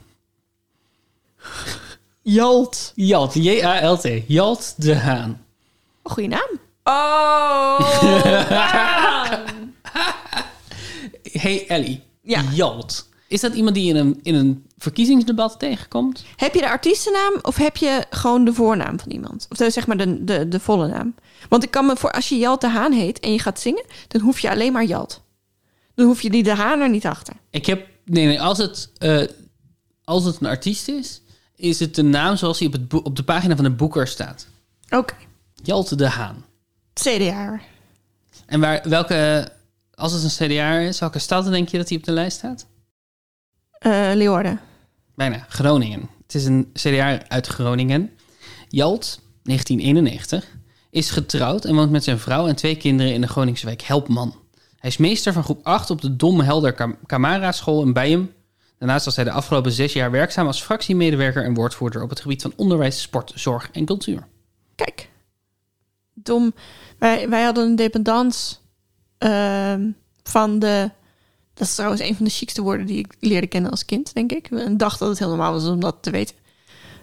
Jalt.
Jalt, J-A-L-T. Jalt de Haan.
Een goede naam. Oh!
Hey Ellie.
Ja.
Jalt. Is dat iemand die in een, in een verkiezingsdebat tegenkomt?
Heb je de artiestennaam of heb je gewoon de voornaam van iemand? Of de- zeg maar de, de, de volle naam. Want ik kan me voor, als je Jalt de Haan heet en je gaat zingen, dan hoef je alleen maar Jalt. Dan hoef je die de Haan er niet achter.
Ik heb... Nee, nee. Als het, eh, als het een artiest is, is het de naam zoals hij op, het boek- op de pagina van de boeker staat.
Oké.
Jalt de Haan.
CDA.
En waar, welke... Als het een CDA is, welke stad denk je dat hij op de lijst staat?
eh Leeuwarden.
Bijna, Groningen. Het is een CDA uit Groningen. Jalt, 1991, is getrouwd en woont met zijn vrouw en twee kinderen in de Groningse wijk Helpman. Hij is meester van groep 8 op de Dom Helder Kam- Camara School in Bijem. Daarnaast was hij de afgelopen zes jaar werkzaam als fractiemedewerker en woordvoerder op het gebied van onderwijs, sport, zorg en cultuur.
Kijk. Dom. Wij, wij hadden een dependance ehm, van de... Dat is trouwens een van de chicste woorden die ik leerde kennen als kind, denk ik. En dacht dat het heel normaal was om dat te weten.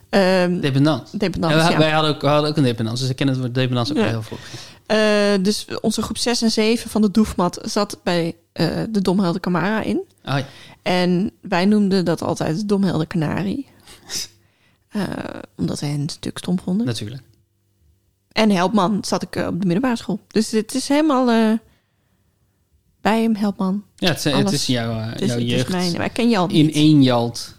Ehm
Dependance.
dependance,
En we-
ja.
Wij hadden ook, we hadden ook een dependance, dus ik ken het woord dependance ook
Ja.
al heel vroeg.
Eh, dus onze groep 6 en 7 van de Doefmat zat bij eh, de Domhelder Camara in.
Oh ja.
En wij noemden dat altijd de Domhelder Canarie. Eh, omdat wij hen een stuk stom vonden.
Natuurlijk.
En Helpman zat ik eh, op de middelbare school. Dus het is helemaal eh, bij hem, Helpman.
Ja, het, is- het
Alles.
is jouw, eh,
Het is,
jouw
het is
jeugd.
mijn. Maar ik ken je al
in
niet.
één jalt.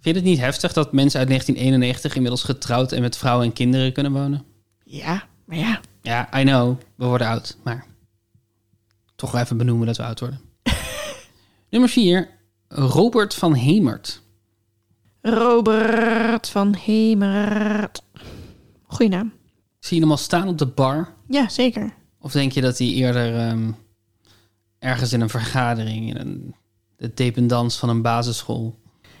Vind je het niet heftig dat mensen uit 1991 inmiddels getrouwd en met vrouwen en kinderen kunnen wonen?
Ja, maar ja.
Ja, I know, we worden oud, maar toch wel even benoemen dat we oud worden. Nummer 4, Robert van Hemert.
Robert van Hemert. Goeie naam.
Ik Zie je hem al staan op de bar
Ja, zeker.
of Of denk je dat hij eerder ehm, ergens in een vergadering, in een, de dependance van een basisschool.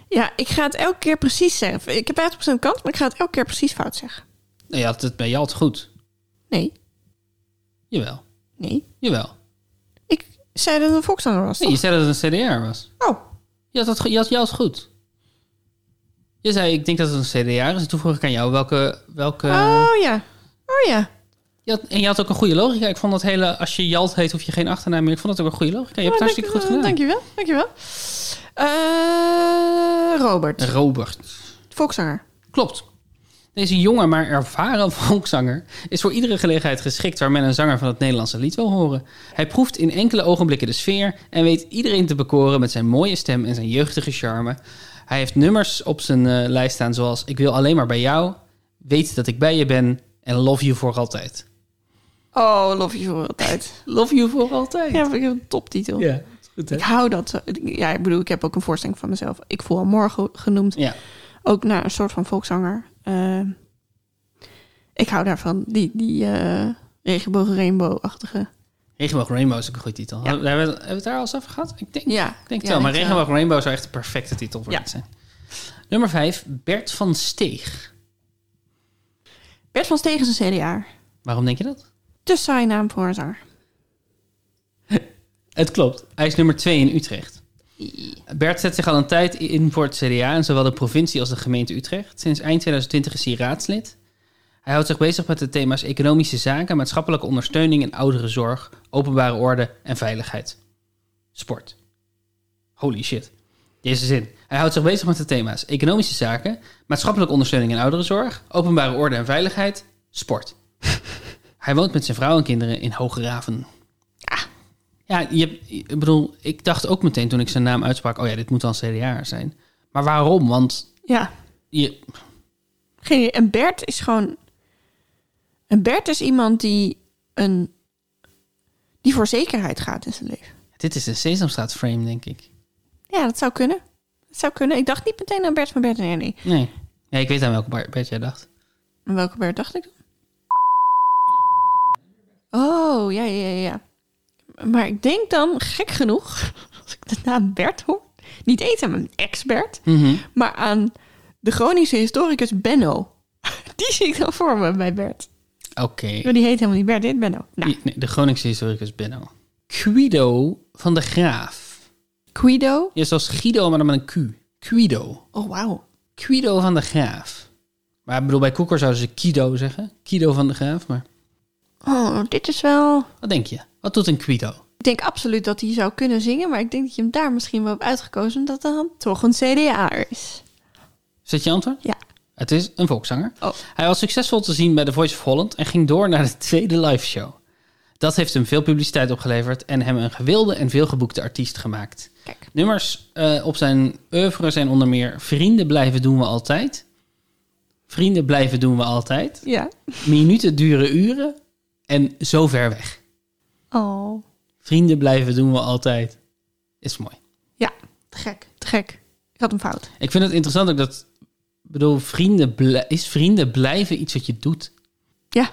Ja, ik ga het elke keer precies zeggen. Ik heb 50% kans, maar ik ga het elke keer precies fout zeggen.
Nou, je had het bij Jalt goed.
Nee,
Jawel,
nee.
jawel.
Ik zei dat het een volksanger was.
Nee, je
toch?
zei dat het een CDR was.
Oh,
Je had, dat, ge- je had Jalt goed. Je zei, ik denk dat het een CDR is. En toen vroeg ik aan jou welke... welke
oh ja. Oh ja.
Eh, je had, en je had ook een goede logica. Ik vond dat hele, als je Jalt heet, hoef je geen achternaam meer. Ik vond dat ook een goede logica. Je hebt het
Oh,
hartstikke
dank-
goed gedaan.
Dankjewel, dankjewel. Eh Robert,
Robert.
volkszanger.
Klopt. Deze jonge maar ervaren volkszanger is voor iedere gelegenheid geschikt waar men een zanger van het Nederlandse lied wil horen. Hij proeft in enkele ogenblikken de sfeer en weet iedereen te bekoren met zijn mooie stem en zijn jeugdige charme. Hij heeft nummers op zijn eh, lijst staan zoals Ik wil alleen maar bij jou, Weet dat ik bij je ben en Love you voor altijd.
Oh, love you voor altijd.
Love you voor altijd.
Ja, vind ik een toptitel.
Ja, goed hè?
Ik hou dat. zo- Ja, ik bedoel, ik heb ook een voorstelling van mezelf. Ik voel al morgen genoemd.
Ja,
Ook naar een soort van volkszanger. Eh, ik hou daarvan. Die, die eh, regenboog rainbow-achtige.
Regenboog Rainbow is ook een goed titel. Hebben we hebben we het daar al eens over gehad? Ik denk
Ja,
Ik denk het
ja, eh,
wel, maar
denk
Regenboog Rainbow zou echt de perfecte titel voor
Ja.
dit zijn. Nummer 5, Bert van Steeg.
Bert van Steeg is een CDA.
Waarom denk je dat?
Te saai naam voor een zanger.
Het klopt. Hij is nummer 2 in Utrecht. Bert zet zich al een tijd in voor het CDA in zowel de provincie als de gemeente Utrecht. Sinds eind 2020 is hij raadslid. Hij houdt zich bezig met de thema's economische zaken, maatschappelijke ondersteuning en ouderenzorg, openbare orde en veiligheid. Sport. Holy shit. Deze zin. Hij houdt zich bezig met de thema's economische zaken, maatschappelijke ondersteuning en ouderenzorg, openbare orde en veiligheid, sport. Hij woont met zijn vrouw en kinderen in Hoograven. Ja, je, hebt- ik bedoel, ik dacht ook meteen toen ik zijn naam uitsprak, oh ja, dit moet dan CDA zijn. Maar waarom? Want
Ja.
je,
Geen idee. En Bert is gewoon... Een Bert is iemand die een... Die voor zekerheid gaat in zijn leven.
dit is de Sesamstraat frame, denk ik.
Ja, dat zou kunnen. Dat zou kunnen. Ik dacht niet meteen aan Bert van Bert en Ernie.
Nee. Nee, ik weet aan welke Bar- Bert jij dacht.
En welke Bert dacht ik dan? Oh, ja, ja, ja, ja. Maar ik denk dan, gek genoeg, als ik de naam Bert hoor... Niet eens aan mijn ex-Bert, maar aan de Groningse historicus Benno. Die zie ik dan voor me bij Bert.
Oké.
Maar die heet helemaal niet Bert, dit is Benno. Nou,
Die- nee, de Groningse historicus Benno. Guido van de Graaf.
Guido.
Ja, zoals Guido, maar dan met een Q. Guido.
Oh, wauw.
Guido van de Graaf. Maar ik bedoel, bij Koeker zouden ze Guido zeggen. Guido van de Graaf, maar
Oh, dit is wel...
wat denk je? Wat doet een Guido?
Ik denk absoluut dat hij zou kunnen zingen, maar ik denk dat je hem daar misschien wel hebt uitgekozen omdat hij dan toch een CDA is.
Is dat je antwoord?
Ja.
Het is een volkszanger.
Oh.
Hij was succesvol te zien bij The Voice of Holland en ging door naar de tweede live show. Dat heeft hem veel publiciteit opgeleverd en hem een gewilde en veelgeboekte artiest gemaakt.
Kijk.
Nummers eh, op zijn oeuvre zijn onder meer Vrienden blijven doen we altijd. Vrienden blijven doen we altijd.
Ja.
Minuten duren uren. En zo ver weg.
Oh.
Vrienden blijven doen we altijd. Is mooi.
Ja. Te gek. Te gek. Ik had hem fout.
Ik vind het interessant ook dat... Ik bedoel, vrienden bl- is vrienden blijven iets wat je doet?
Ja.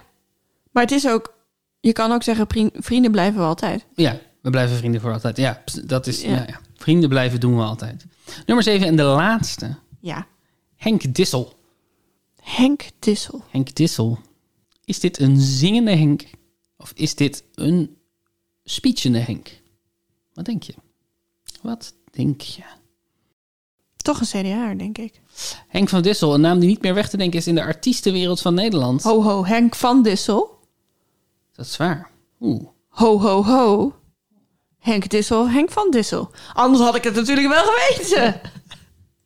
Maar het is ook... Je kan ook zeggen, prien- vrienden blijven we altijd.
Ja, we blijven vrienden voor altijd. Ja, ps- dat is.
Ja.
nou ja. Vrienden blijven doen we altijd. Nummer 7 en de laatste.
Ja.
Henk Dissel.
Henk Dissel.
Henk Dissel. Is dit een zingende Henk? Of is dit een speechende Henk? Wat denk je? Wat denk je?
Toch een CDA, denk ik.
Henk van Dissel, een naam die niet meer weg te denken is in de artiestenwereld van Nederland.
Ho, ho, Henk van Dissel.
Dat is waar. Oeh.
Ho, ho, ho. Henk Dissel, Henk van Dissel. Anders had ik het natuurlijk wel geweten.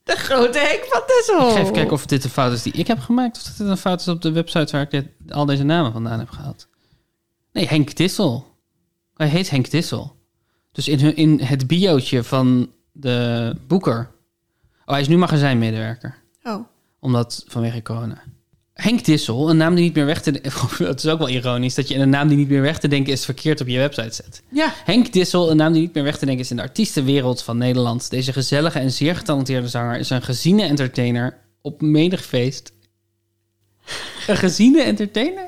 De grote Henk van Dissel.
Ik ga even kijken of dit een fout is die ik heb gemaakt. Of dat dit een fout is op de website waar ik dit, al deze namen vandaan heb gehaald. Nee, Henk Dissel. Hij heet Henk Dissel. Dus in, hun- in het biootje van de boeker. Oh, hij is nu magazijnmedewerker.
Oh.
Omdat vanwege corona. Henk Dissel, een naam die niet meer weg te denken... Het is ook wel ironisch dat je een naam die niet meer weg te denken is verkeerd op je website zet.
Ja.
Henk Dissel, een naam die niet meer weg te denken is in de artiestenwereld van Nederland. Deze gezellige en zeer getalenteerde zanger is een geziene entertainer op menig feest. Een geziene entertainer?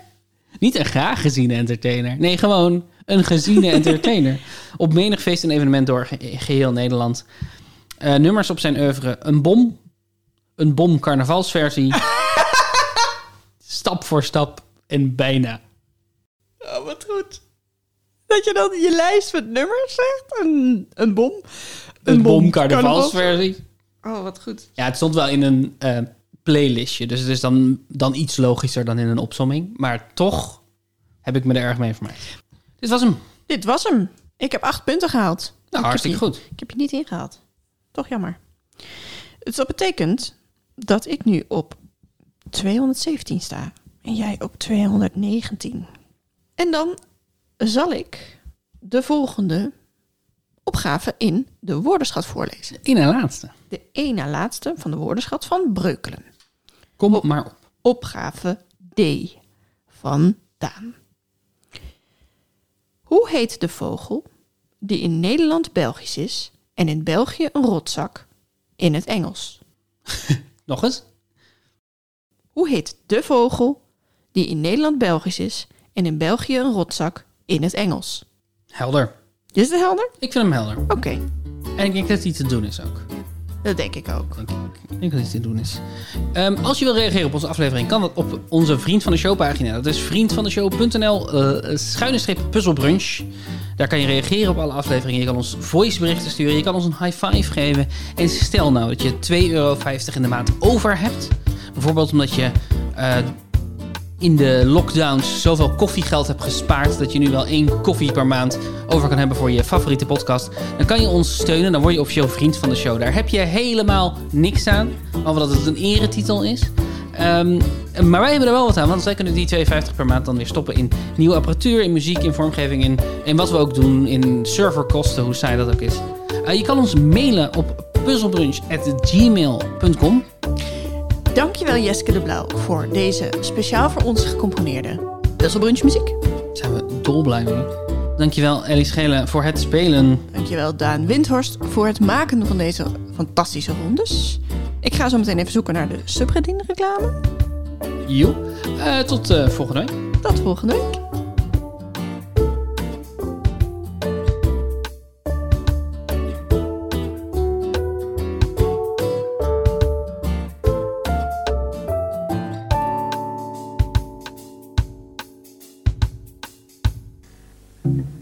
Niet een graag geziene entertainer. Nee, gewoon een geziene entertainer. Op menig feest en evenement door ge- geheel Nederland. Eh, nummers op zijn oeuvre. Een bom. Een bom carnavalsversie. stap voor stap en bijna.
Oh, wat goed. Dat je dan je lijst met nummers zegt. Een, een bom.
Een, bom,
carnavalsver-
carnavalsversie.
Oh, wat goed.
Ja, het stond wel in een eh, playlistje. Dus het is dan, dan iets logischer dan in een opsomming. Maar toch heb ik me er erg mee vermaakt. Dit was hem.
Dit was hem. Ik heb acht punten gehaald. Ik heb
Nou, hartstikke
je-
goed.
Ik heb je niet ingehaald. Toch jammer. Dus dat betekent dat ik nu op 217 sta. En jij op 219. En dan zal ik de volgende opgave in de woordenschat voorlezen.
In een laatste.
De één na laatste van de woordenschat van Breukelen.
Kom maar op.
Opgave D van Daan. Hoe heet de vogel die in Nederland Belgisch is en in België een rotzak in het Engels?
Nog eens.
Hoe heet de vogel die in Nederland Belgisch is en in België een rotzak in het Engels?
Helder.
Is het helder?
Ik vind hem helder.
Oké,
En ik denk dat hij te doen is ook.
dat denk ik ook.
Denk ik. Ik denk dat hij te doen is. Ehm, als je wil reageren op onze aflevering, kan dat op onze Vriend van de Show pagina. Dat is vriendvandeshow.nl eh schuine streep puzzelbrunch. Daar kan je reageren op alle afleveringen. Je kan ons voiceberichten sturen. Je kan ons een high five geven. En stel nou dat je 2,50 euro in de maand over hebt. Bijvoorbeeld omdat je eh, in de lockdowns zoveel koffiegeld hebt gespaard dat je nu wel één koffie per maand over kan hebben voor je favoriete podcast, dan kan je ons steunen. Dan word je officieel vriend van de show. Daar heb je helemaal niks aan, behalve dat het een eretitel is. Ehm, maar wij hebben er wel wat aan, want wij kunnen die 2,50 per maand dan weer stoppen in nieuwe apparatuur, in muziek, in vormgeving, in, in wat we ook doen, in serverkosten, hoe saai dat ook is. Eh, je kan ons mailen op puzzelbrunch.gmail.com.
Dankjewel Jeske de Blauw voor deze speciaal voor ons gecomponeerde Puzzelbrunch muziek.
zijn we dolblij mee. Dankjewel Ellie Schelen voor het spelen.
Dankjewel Daan Windhorst voor het maken van deze fantastische rondes. Ik ga zo meteen even zoeken naar de subredding reclame.
Joep. Eh, tot eh, volgende week.
Tot volgende week.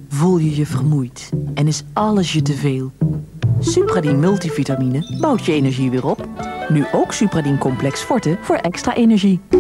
voel je je vermoeid en is alles je te veel. Supradin multivitamine bouwt je energie weer op. Nu ook Supradin complex forte voor extra energie.